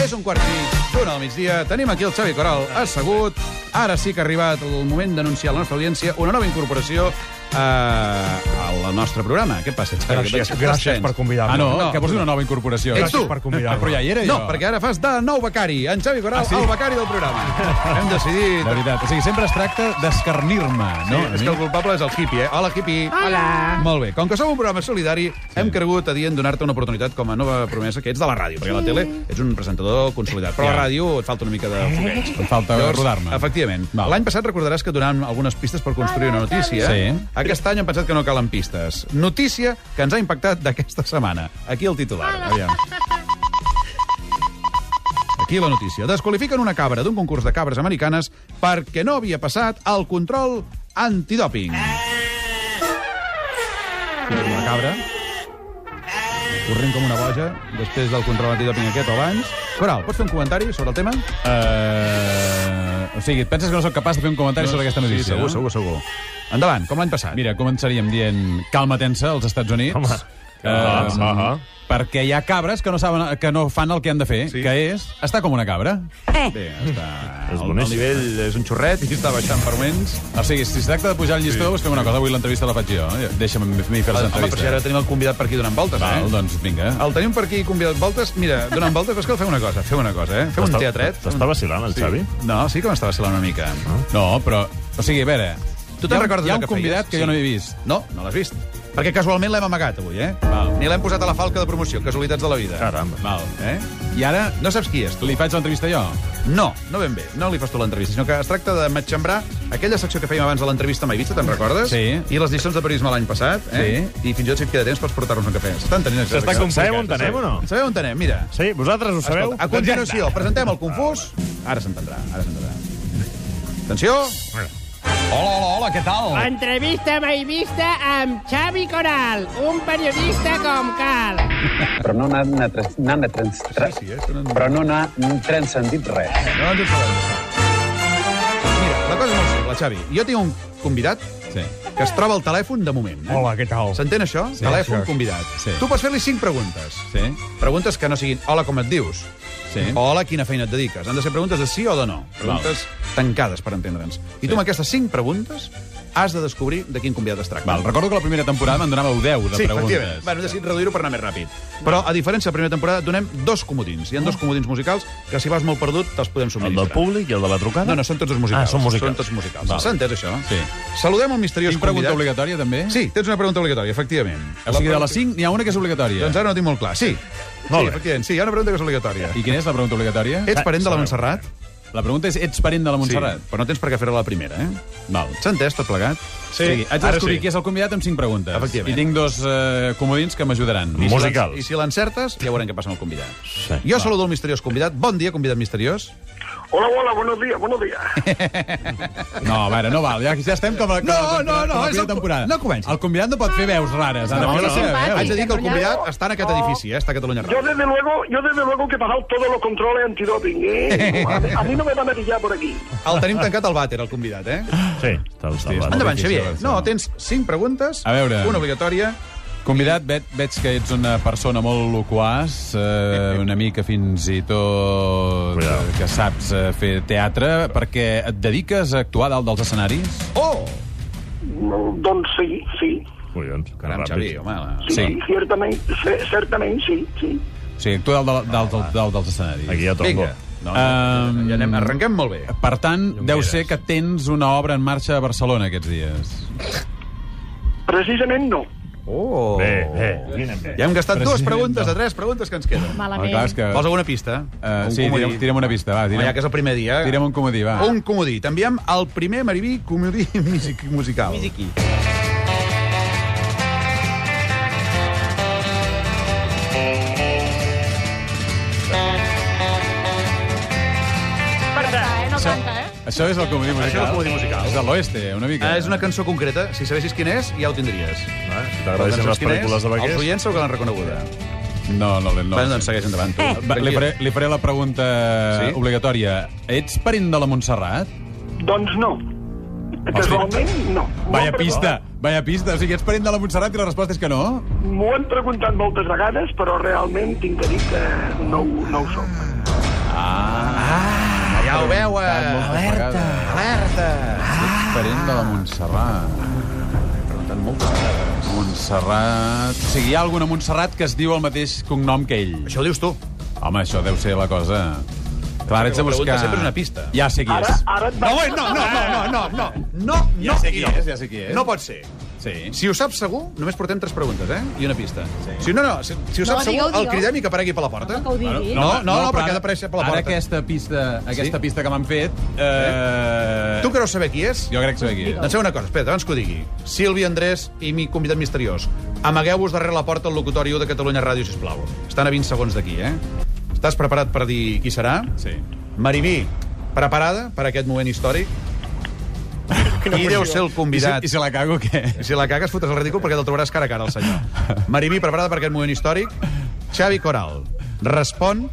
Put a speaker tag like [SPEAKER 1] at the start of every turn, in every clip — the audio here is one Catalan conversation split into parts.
[SPEAKER 1] És un quart i mig d'una del migdia. Tenim aquí el Xavi Coral assegut. Ara sí que ha arribat el moment d'anunciar a la nostra audiència una nova incorporació eh, al nostre programa. Què passa, Xavi?
[SPEAKER 2] Gràcies,
[SPEAKER 1] Què
[SPEAKER 2] gràcies
[SPEAKER 1] tens?
[SPEAKER 2] per convidar-me.
[SPEAKER 1] Ah, no,
[SPEAKER 2] No,
[SPEAKER 1] que vols dir una nova incorporació.
[SPEAKER 2] Gràcies
[SPEAKER 1] Ets tu?
[SPEAKER 2] per convidar-me.
[SPEAKER 1] Però ja hi era, jo.
[SPEAKER 2] No,
[SPEAKER 1] perquè ara fas de nou becari. En Xavi Coral,
[SPEAKER 2] Ah, sí?
[SPEAKER 1] el becari del programa. Hem decidit...
[SPEAKER 3] De veritat. O sigui, sempre es tracta d'escarnir-me,
[SPEAKER 1] No,
[SPEAKER 3] no?
[SPEAKER 1] sí, és que el culpable és el hippie, eh? Hola, hippie. Hola. Molt bé. Com que som un programa solidari, sí. hem cregut adient donar-te una oportunitat com a nova promesa, que ets de la ràdio, perquè a la tele ets un presentador consolidat, però a la
[SPEAKER 3] Ja.
[SPEAKER 1] ràdio et falta una mica de fogueig.
[SPEAKER 3] Em falta rodar-me.
[SPEAKER 1] Efectivament.
[SPEAKER 3] Val.
[SPEAKER 1] L'any passat recordaràs que donàvem algunes pistes per construir una notícia.
[SPEAKER 3] Sí.
[SPEAKER 1] Aquest any hem pensat que no calen pistes. Notícia que ens ha impactat d'aquesta setmana. Aquí el titular. Aviam. Aquí la notícia. Desqualifiquen una cabra d'un concurs de cabres americanes perquè no havia passat el control antidòping. La cabra corrent com una boja després del control antidòping aquest o abans. Coral, pots fer un comentari sobre el tema?
[SPEAKER 3] Eh, o sigui, et penses que no sóc capaç de fer un comentari sobre aquesta
[SPEAKER 1] Sí,
[SPEAKER 3] notícia,
[SPEAKER 1] segur,
[SPEAKER 3] no?
[SPEAKER 1] segur, segur. Endavant, com l'any passat.
[SPEAKER 3] Mira, començaríem dient calma tensa als Estats Units.
[SPEAKER 2] Home.
[SPEAKER 3] Eh,
[SPEAKER 2] Ah, ah.
[SPEAKER 3] Perquè hi ha cabres que no, saben, que no fan el que han de fer,
[SPEAKER 1] Sí.
[SPEAKER 3] que és estar com una cabra.
[SPEAKER 1] Bé, està...
[SPEAKER 2] És
[SPEAKER 1] el, el
[SPEAKER 2] boníssim.
[SPEAKER 1] nivell és un xorret i està baixant per moments.
[SPEAKER 3] O sigui, si es tracta de pujar el llistó, sí. fem una cosa. Avui l'entrevista la faig jo. Deixa'm a mi fer
[SPEAKER 1] Ah, Home, però si
[SPEAKER 3] les
[SPEAKER 1] ara
[SPEAKER 3] entrevistes.
[SPEAKER 1] tenim el convidat per aquí donant voltes,
[SPEAKER 3] Val,
[SPEAKER 1] eh?
[SPEAKER 3] doncs vinga.
[SPEAKER 1] El tenim per aquí convidat voltes. Mira, donant voltes, però és que fem una cosa, fem una cosa, eh? Fem un
[SPEAKER 2] T'està-
[SPEAKER 1] teatret.
[SPEAKER 2] T'està vacilant, el
[SPEAKER 1] Sí.
[SPEAKER 2] Xavi?
[SPEAKER 1] No, sí que m'està vacilant una mica.
[SPEAKER 3] No, però... O sigui, a veure...
[SPEAKER 1] Ah. Tu te'n
[SPEAKER 3] hi ha-
[SPEAKER 1] recordes
[SPEAKER 3] Hi ha
[SPEAKER 1] del
[SPEAKER 3] un
[SPEAKER 1] que
[SPEAKER 3] convidat
[SPEAKER 1] feies?
[SPEAKER 3] que
[SPEAKER 1] Sí.
[SPEAKER 3] jo no he vist.
[SPEAKER 1] No, no l'has vist. Perquè casualment l'hem amagat avui, eh?
[SPEAKER 3] Val.
[SPEAKER 1] Ni l'hem posat a la falca de promoció, casualitats de la vida.
[SPEAKER 2] Caramba.
[SPEAKER 1] Val. Eh?
[SPEAKER 3] I ara
[SPEAKER 1] No saps qui és, tu?
[SPEAKER 3] li faig l'entrevista jo.
[SPEAKER 1] No, no ben bé. No li fas tu l'entrevista, sinó que es tracta de matxembrar aquella secció que fèiem abans de l'entrevista amb Eivissa, te'n recordes?
[SPEAKER 3] Sí.
[SPEAKER 1] I les lliçons de periodisme l'any passat, eh? Sí. I fins i tot si et queda temps pots portar-nos un cafè. S'estan tenint això.
[SPEAKER 2] S'està complicat. Sabeu on anem o no?
[SPEAKER 1] Sabeu on anem? Mira.
[SPEAKER 2] Sí, vosaltres ho sabeu? Doncs
[SPEAKER 1] Escolta, a continuació, presentem el confús. Ara s'entendrà, ara s'entendrà. Atenció.
[SPEAKER 3] Hola, hola, hola, què tal?
[SPEAKER 4] Entrevista mai vista amb Xavi Coral, un periodista com cal.
[SPEAKER 5] però no n'han trans- n'han trans- tra-
[SPEAKER 1] Sí, sí, eh? Tenen-
[SPEAKER 5] però no n'ha transcendit res.
[SPEAKER 1] No ens ho sabem. Mira, la cosa és molt simple, Xavi. Jo tinc un convidat
[SPEAKER 3] Sí.
[SPEAKER 1] que es troba al telèfon de moment. Eh?
[SPEAKER 2] Hola, què tal?
[SPEAKER 1] S'entén això? Sí, telèfon,
[SPEAKER 2] això.
[SPEAKER 1] convidat.
[SPEAKER 3] Sí.
[SPEAKER 1] Tu pots fer-li cinc preguntes.
[SPEAKER 3] Sí.
[SPEAKER 1] Preguntes que no siguin hola, com et dius?
[SPEAKER 3] Sí.
[SPEAKER 1] O hola, quina feina et dediques? Han de ser preguntes de sí o de no. Preguntes tancades, per entendre'ns. I tu amb aquestes cinc preguntes has de descobrir de quin convidat es tracta.
[SPEAKER 3] Val, recordo que la primera temporada me'n donàveu 10 de
[SPEAKER 1] Sí, efectivament.
[SPEAKER 3] preguntes.
[SPEAKER 1] Bueno, hem decidit reduir-ho per anar més ràpid. Però, a diferència de la primera temporada, donem dos comodins. Hi ha dos
[SPEAKER 3] Ah.
[SPEAKER 1] comodins musicals que, si vas molt perdut, te'ls podem
[SPEAKER 2] El del
[SPEAKER 1] subministrar.
[SPEAKER 2] públic i el de la trucada?
[SPEAKER 1] No, no, són tots dos musicals.
[SPEAKER 2] Ah, són musicals.
[SPEAKER 1] Són tots musicals.
[SPEAKER 2] Val.
[SPEAKER 1] S'ha entès, això?
[SPEAKER 3] Sí.
[SPEAKER 1] Saludem el misteriós
[SPEAKER 3] Tinc pregunta
[SPEAKER 1] convidat.
[SPEAKER 3] obligatòria, també?
[SPEAKER 1] Sí, tens una pregunta obligatòria, efectivament.
[SPEAKER 3] O sigui, de
[SPEAKER 1] pregunta-
[SPEAKER 3] les 5 n'hi ha una que és obligatòria.
[SPEAKER 1] Doncs ara no ho tinc molt clar. Sí,
[SPEAKER 2] Molt
[SPEAKER 1] sí,
[SPEAKER 2] bé.
[SPEAKER 1] efectivament. Sí, hi ha una pregunta que és obligatòria.
[SPEAKER 3] I quina és la pregunta obligatòria?
[SPEAKER 1] Ets parent de la Montserrat?
[SPEAKER 3] La pregunta és, ets parent de la Montserrat?
[SPEAKER 1] Sí, però no tens per què fer-la a la primera, eh?
[SPEAKER 3] Val.
[SPEAKER 1] S'ha entès tot plegat?
[SPEAKER 3] Sí, o sigui, haig de
[SPEAKER 2] ara
[SPEAKER 3] descobrir
[SPEAKER 2] sí.
[SPEAKER 3] qui és el convidat amb 5 preguntes.
[SPEAKER 1] Efectivament.
[SPEAKER 3] I tinc dos eh, comodins que m'ajudaran.
[SPEAKER 1] I si
[SPEAKER 2] Musical.
[SPEAKER 1] l'en- I si l'encertes, ja veurem què passa amb el convidat.
[SPEAKER 2] Sí,
[SPEAKER 1] jo saludo el misteriós convidat. Bon dia, convidat misteriós.
[SPEAKER 6] Hola, hola, buenos días, buenos días.
[SPEAKER 3] No, a veure, no val. Ja, ja estem com a, com
[SPEAKER 1] No,
[SPEAKER 3] a, temporada-
[SPEAKER 1] no, no,
[SPEAKER 3] com a
[SPEAKER 1] és
[SPEAKER 3] primera
[SPEAKER 1] el-
[SPEAKER 3] temporada.
[SPEAKER 1] no comencis.
[SPEAKER 3] El convidat no pot fer veus rares. Ha de
[SPEAKER 2] No,
[SPEAKER 3] fer la
[SPEAKER 2] no.
[SPEAKER 3] seva veu.
[SPEAKER 1] Haig de dir que el convidat està en aquest edifici, eh? està a Catalunya
[SPEAKER 6] Yo
[SPEAKER 1] Ràdio.
[SPEAKER 6] desde luego, yo desde luego que he pasado todos los controles antidoping, ¿eh? A mí, a mí no me van a pillar por aquí.
[SPEAKER 1] El tenim tancat al vàter, el convidat, eh?
[SPEAKER 2] Sí, està Hosti,
[SPEAKER 1] Endavant, Xavier. No, tens cinc preguntes,
[SPEAKER 3] A veure.
[SPEAKER 1] una obligatòria.
[SPEAKER 3] Convidat, ve, veig que ets una persona molt loquaç, eh, una mica fins i tot eh,
[SPEAKER 2] Cuidao.
[SPEAKER 3] que saps eh, fer teatre, perquè et dediques a actuar dalt dels escenaris?
[SPEAKER 1] Oh!
[SPEAKER 6] No, Don sí, sí.
[SPEAKER 2] Collons, que
[SPEAKER 1] Caram,
[SPEAKER 2] ràpid.
[SPEAKER 1] Xavi, home. la-
[SPEAKER 6] Sí,
[SPEAKER 3] Sí.
[SPEAKER 6] sí, ciertamente, cer- certamente, sí, sí.
[SPEAKER 3] O sigui, actuar dalt, de- dalt, dalt, dalt dels escenaris.
[SPEAKER 2] Aquí hi ha tombo.
[SPEAKER 1] Vinga. No, no,
[SPEAKER 3] Um,
[SPEAKER 1] ja anem, arrenquem molt bé.
[SPEAKER 3] Per tant, deu ser que tens una obra en marxa a Barcelona aquests dies.
[SPEAKER 6] Precisamente no.
[SPEAKER 1] Oh!
[SPEAKER 2] Bé, bé, vinen bé.
[SPEAKER 1] Ja hem gastat dues
[SPEAKER 3] President,
[SPEAKER 1] preguntes
[SPEAKER 3] no.
[SPEAKER 1] de tres preguntes que ens queden.
[SPEAKER 3] Home, clar, és que...
[SPEAKER 1] Vols alguna pista?
[SPEAKER 3] Eh,
[SPEAKER 1] Un
[SPEAKER 3] sí,
[SPEAKER 1] comodí.
[SPEAKER 3] tirem, tirem una pista, va.
[SPEAKER 1] Home,
[SPEAKER 3] Tirem,
[SPEAKER 1] ja que és el primer dia... Ah.
[SPEAKER 3] tirem un comodí, va.
[SPEAKER 1] Un comodí. T'enviem el primer Maribí comodí music- musical. Musiqui.
[SPEAKER 7] Eh,
[SPEAKER 3] Això és el comodí musical.
[SPEAKER 1] és el comodí musical. Ah,
[SPEAKER 3] És de l'oeste, una mica.
[SPEAKER 1] Eh, És una cançó concreta. Si sabessis quin és, ja ho tindries.
[SPEAKER 2] Ah, si
[SPEAKER 1] Però
[SPEAKER 2] T'agradeixen
[SPEAKER 1] no saps
[SPEAKER 2] les
[SPEAKER 1] quin és,
[SPEAKER 2] pel·lícules de
[SPEAKER 1] Els
[SPEAKER 2] vaquers?
[SPEAKER 1] oients segur que l'han reconeguda.
[SPEAKER 3] No, no, no.
[SPEAKER 1] Bueno, doncs segueix endavant. Tu.
[SPEAKER 3] Eh, Va, li, faré, li faré la pregunta
[SPEAKER 1] Sí?
[SPEAKER 3] obligatòria. Ets parent de la Montserrat?
[SPEAKER 6] Doncs no. Casualmente no. M'ho han
[SPEAKER 3] Vaya
[SPEAKER 6] preguntat-
[SPEAKER 3] pista, vaya pista. O sigui, ets parent de la Montserrat i la resposta és que no?
[SPEAKER 6] M'ho han preguntat moltes vegades, però realment tinc de dir que no, ho- no ho soc.
[SPEAKER 1] ho veu? eh?
[SPEAKER 3] Alerta!
[SPEAKER 1] Alerta!
[SPEAKER 3] Parent de la Montserrat.
[SPEAKER 1] Preguntant moltes vegades.
[SPEAKER 3] Montserrat... O sigui, hi ha alguna Montserrat que es diu el mateix cognom que ell.
[SPEAKER 1] Això ho dius tu.
[SPEAKER 3] Home, això deu ser la cosa... Clar, ets a
[SPEAKER 1] La pregunta
[SPEAKER 3] buscar...
[SPEAKER 1] sempre és una pista.
[SPEAKER 3] Ja sé qui
[SPEAKER 6] Ara,
[SPEAKER 3] és.
[SPEAKER 6] ara et
[SPEAKER 1] No,
[SPEAKER 6] vaig-
[SPEAKER 1] bueno, no, no, no, no, no, no, no,
[SPEAKER 3] Ja sé qui
[SPEAKER 1] no.
[SPEAKER 3] és, ja sé qui és.
[SPEAKER 1] No pot ser.
[SPEAKER 3] Sí.
[SPEAKER 1] Si ho saps segur, només portem tres preguntes, eh? I una pista. Sí. Si no, no, si, si ho
[SPEAKER 7] No,
[SPEAKER 1] saps segur,
[SPEAKER 7] digueu,
[SPEAKER 1] el
[SPEAKER 7] digueu.
[SPEAKER 1] cridem i que aparegui per la porta.
[SPEAKER 7] No, que ho digui.
[SPEAKER 1] No, no, no,
[SPEAKER 3] però
[SPEAKER 1] perquè ha
[SPEAKER 3] ara-
[SPEAKER 1] d'aparèixer per la
[SPEAKER 3] Ara
[SPEAKER 1] porta.
[SPEAKER 3] aquesta pista, aquesta
[SPEAKER 1] Sí?
[SPEAKER 3] pista que m'han fet... Eh...
[SPEAKER 1] Tu creus saber qui és?
[SPEAKER 3] Jo crec que saber qui és.
[SPEAKER 1] Doncs feu una cosa, espera, abans que ho digui. Sílvia Andrés i mi convidat misteriós, amagueu-vos darrere la porta del locutori u de Catalunya Ràdio, sisplau. Estan a 20 segons d'aquí, eh? Estàs preparat per dir qui serà?
[SPEAKER 3] Sí.
[SPEAKER 1] Mariví, preparada per aquest moment històric? Qui deu ser el convidat?
[SPEAKER 3] I si, I si la cago, què?
[SPEAKER 1] I si la cagues, fotes el ridícul perquè te'l trobaràs cara a cara, el senyor. Mariví, preparada per aquest moment històric? Xavi Coral, respon...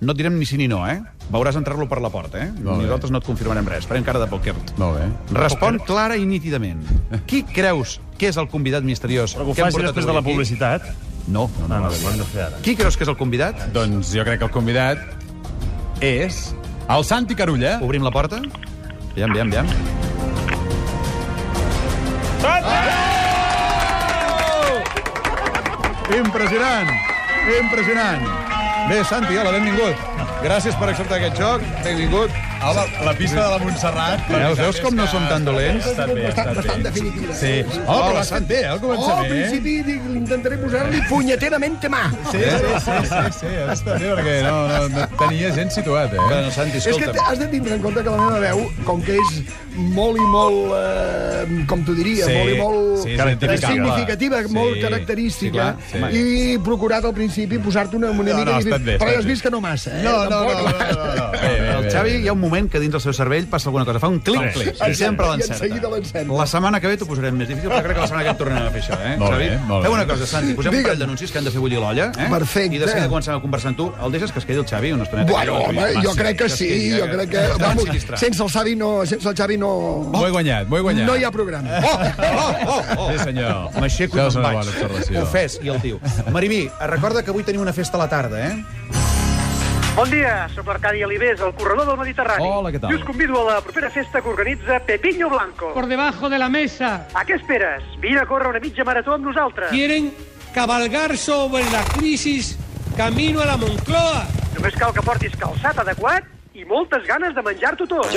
[SPEAKER 1] No et direm ni sí ni no, eh? Veuràs entrar-lo per la porta, eh?
[SPEAKER 3] Molt bé.
[SPEAKER 1] Nosaltres no et confirmarem res. Farem cara de pòquer.
[SPEAKER 3] Molt bé.
[SPEAKER 1] Respon clara i nítidament. Qui creus que és el convidat misteriós?
[SPEAKER 2] Però que ho
[SPEAKER 1] que hem
[SPEAKER 2] faci
[SPEAKER 1] portat
[SPEAKER 2] després
[SPEAKER 1] avui
[SPEAKER 2] de la
[SPEAKER 1] aquí?
[SPEAKER 2] publicitat.
[SPEAKER 1] No, no,
[SPEAKER 2] Ah,
[SPEAKER 1] no.
[SPEAKER 2] no, ho hem de fer ara.
[SPEAKER 1] Qui creus que és el convidat?
[SPEAKER 3] Doncs jo crec que el convidat és el Santi Carulla.
[SPEAKER 1] Obrim la porta. Aviam, aviam, aviam. Impressionant! Impressionant! Bé, Santi, hola, benvingut. Gràcies per acceptar aquest joc. Benvingut.
[SPEAKER 3] Home, la pista de la Montserrat...
[SPEAKER 1] Veus,
[SPEAKER 3] la veritat
[SPEAKER 1] veus com
[SPEAKER 3] és
[SPEAKER 1] no
[SPEAKER 3] que
[SPEAKER 1] som tan dolents?
[SPEAKER 3] Ha estat bé, ha estat bé.
[SPEAKER 8] definitiva.
[SPEAKER 3] Sí. Oh, però va estar bé, eh, al
[SPEAKER 1] oh,
[SPEAKER 3] començament.
[SPEAKER 8] dic, intentaré posar-li punyeteramente mà.
[SPEAKER 3] Sí, sí, sí, sí, sí, ha estat bé, perquè no, no, no tenia gent situat, eh?
[SPEAKER 1] Bueno, Santi,
[SPEAKER 8] És que
[SPEAKER 1] escolta'm.
[SPEAKER 8] has de tindre en compte que la meva veu, com que és molt i molt, eh, com t'ho diria,
[SPEAKER 3] Sí,
[SPEAKER 8] molt i molt
[SPEAKER 3] sí,
[SPEAKER 8] eh,
[SPEAKER 3] és identificable.
[SPEAKER 8] significativa,
[SPEAKER 3] Sí,
[SPEAKER 8] molt
[SPEAKER 3] sí,
[SPEAKER 8] característica,
[SPEAKER 3] clar, sí.
[SPEAKER 8] i he procurat al principi posar-te una,
[SPEAKER 3] No,
[SPEAKER 8] una mica...
[SPEAKER 3] no, ha
[SPEAKER 8] difícil,
[SPEAKER 3] estat bé, ha
[SPEAKER 8] però
[SPEAKER 3] estat
[SPEAKER 8] ja has
[SPEAKER 3] bé.
[SPEAKER 8] vist que no massa, eh?
[SPEAKER 3] No, no, no, no,
[SPEAKER 8] Tampoc.
[SPEAKER 3] no, no. Bé, bé,
[SPEAKER 1] El
[SPEAKER 3] bé,
[SPEAKER 1] Xavi
[SPEAKER 3] bé.
[SPEAKER 1] hi ha un moment que dins del seu cervell passa alguna cosa. Fa un clic,
[SPEAKER 2] Un clic,
[SPEAKER 1] i
[SPEAKER 2] sí,
[SPEAKER 1] sempre
[SPEAKER 8] sí. I
[SPEAKER 1] l'encerta.
[SPEAKER 8] enseguida l'encerta.
[SPEAKER 1] La setmana que ve t'ho posarem més difícil, perquè crec que la setmana que ve et tornarem a fer això, eh,
[SPEAKER 3] Molt
[SPEAKER 1] Xavi?
[SPEAKER 3] bé, molt
[SPEAKER 1] Feu
[SPEAKER 3] bé.
[SPEAKER 1] una cosa, Santi, posem un
[SPEAKER 8] Digue'm.
[SPEAKER 1] parell d'anuncis que han de fer bullir l'olla, eh?
[SPEAKER 8] Perfecte.
[SPEAKER 1] I de seguida comencem a conversar amb tu. El deixes que es quedi el Xavi una estoneta?
[SPEAKER 8] Bueno,
[SPEAKER 1] Que
[SPEAKER 8] home,
[SPEAKER 1] quedi,
[SPEAKER 8] jo
[SPEAKER 1] va,
[SPEAKER 8] crec que sí,
[SPEAKER 1] es quedi,
[SPEAKER 8] jo
[SPEAKER 1] eh?
[SPEAKER 8] crec que...
[SPEAKER 1] Que es quedi
[SPEAKER 8] Vamos,
[SPEAKER 1] distrat.
[SPEAKER 8] sense el Xavi no... Sense el Xavi no...
[SPEAKER 3] M'ho he guanyat, m'ho he guanyat.
[SPEAKER 8] No hi ha
[SPEAKER 3] Eh.
[SPEAKER 8] programa.
[SPEAKER 1] Oh, oh, oh, oh.
[SPEAKER 3] Sí, senyor.
[SPEAKER 1] M'aixeco i
[SPEAKER 3] Això és
[SPEAKER 1] me'n
[SPEAKER 3] una
[SPEAKER 1] vaig.
[SPEAKER 3] bona observació.
[SPEAKER 1] Ofès, i el tio. Marimí, recorda que avui tenim una festa a la tarda, eh?
[SPEAKER 9] Bon dia, sóc l'Arcadi Alibés, el corredor del Mediterrani.
[SPEAKER 3] Hola, què tal?
[SPEAKER 9] I us convido a la propera festa que organitza Pepiño Blanco.
[SPEAKER 4] Por debajo de la mesa.
[SPEAKER 9] A què esperes? Vine a córrer una mitja marató amb nosaltres.
[SPEAKER 4] Quieren cabalgar sobre la crisis camino a la Moncloa.
[SPEAKER 9] Només cal que portis calçat adequat i moltes ganes de menjar-t'ho tot.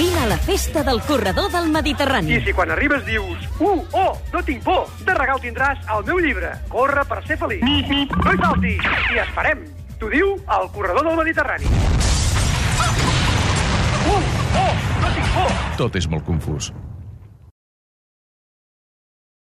[SPEAKER 7] Vine a la festa del corredor del Mediterrani.
[SPEAKER 9] I si quan arribes dius, uh, oh, no tinc por, de regal tindràs el meu llibre, Corre per ser feliç. No hi faltis, i es farem. T'ho diu el corredor del Mediterrani. Uh, oh, no tinc por.
[SPEAKER 10] Tot és molt confús.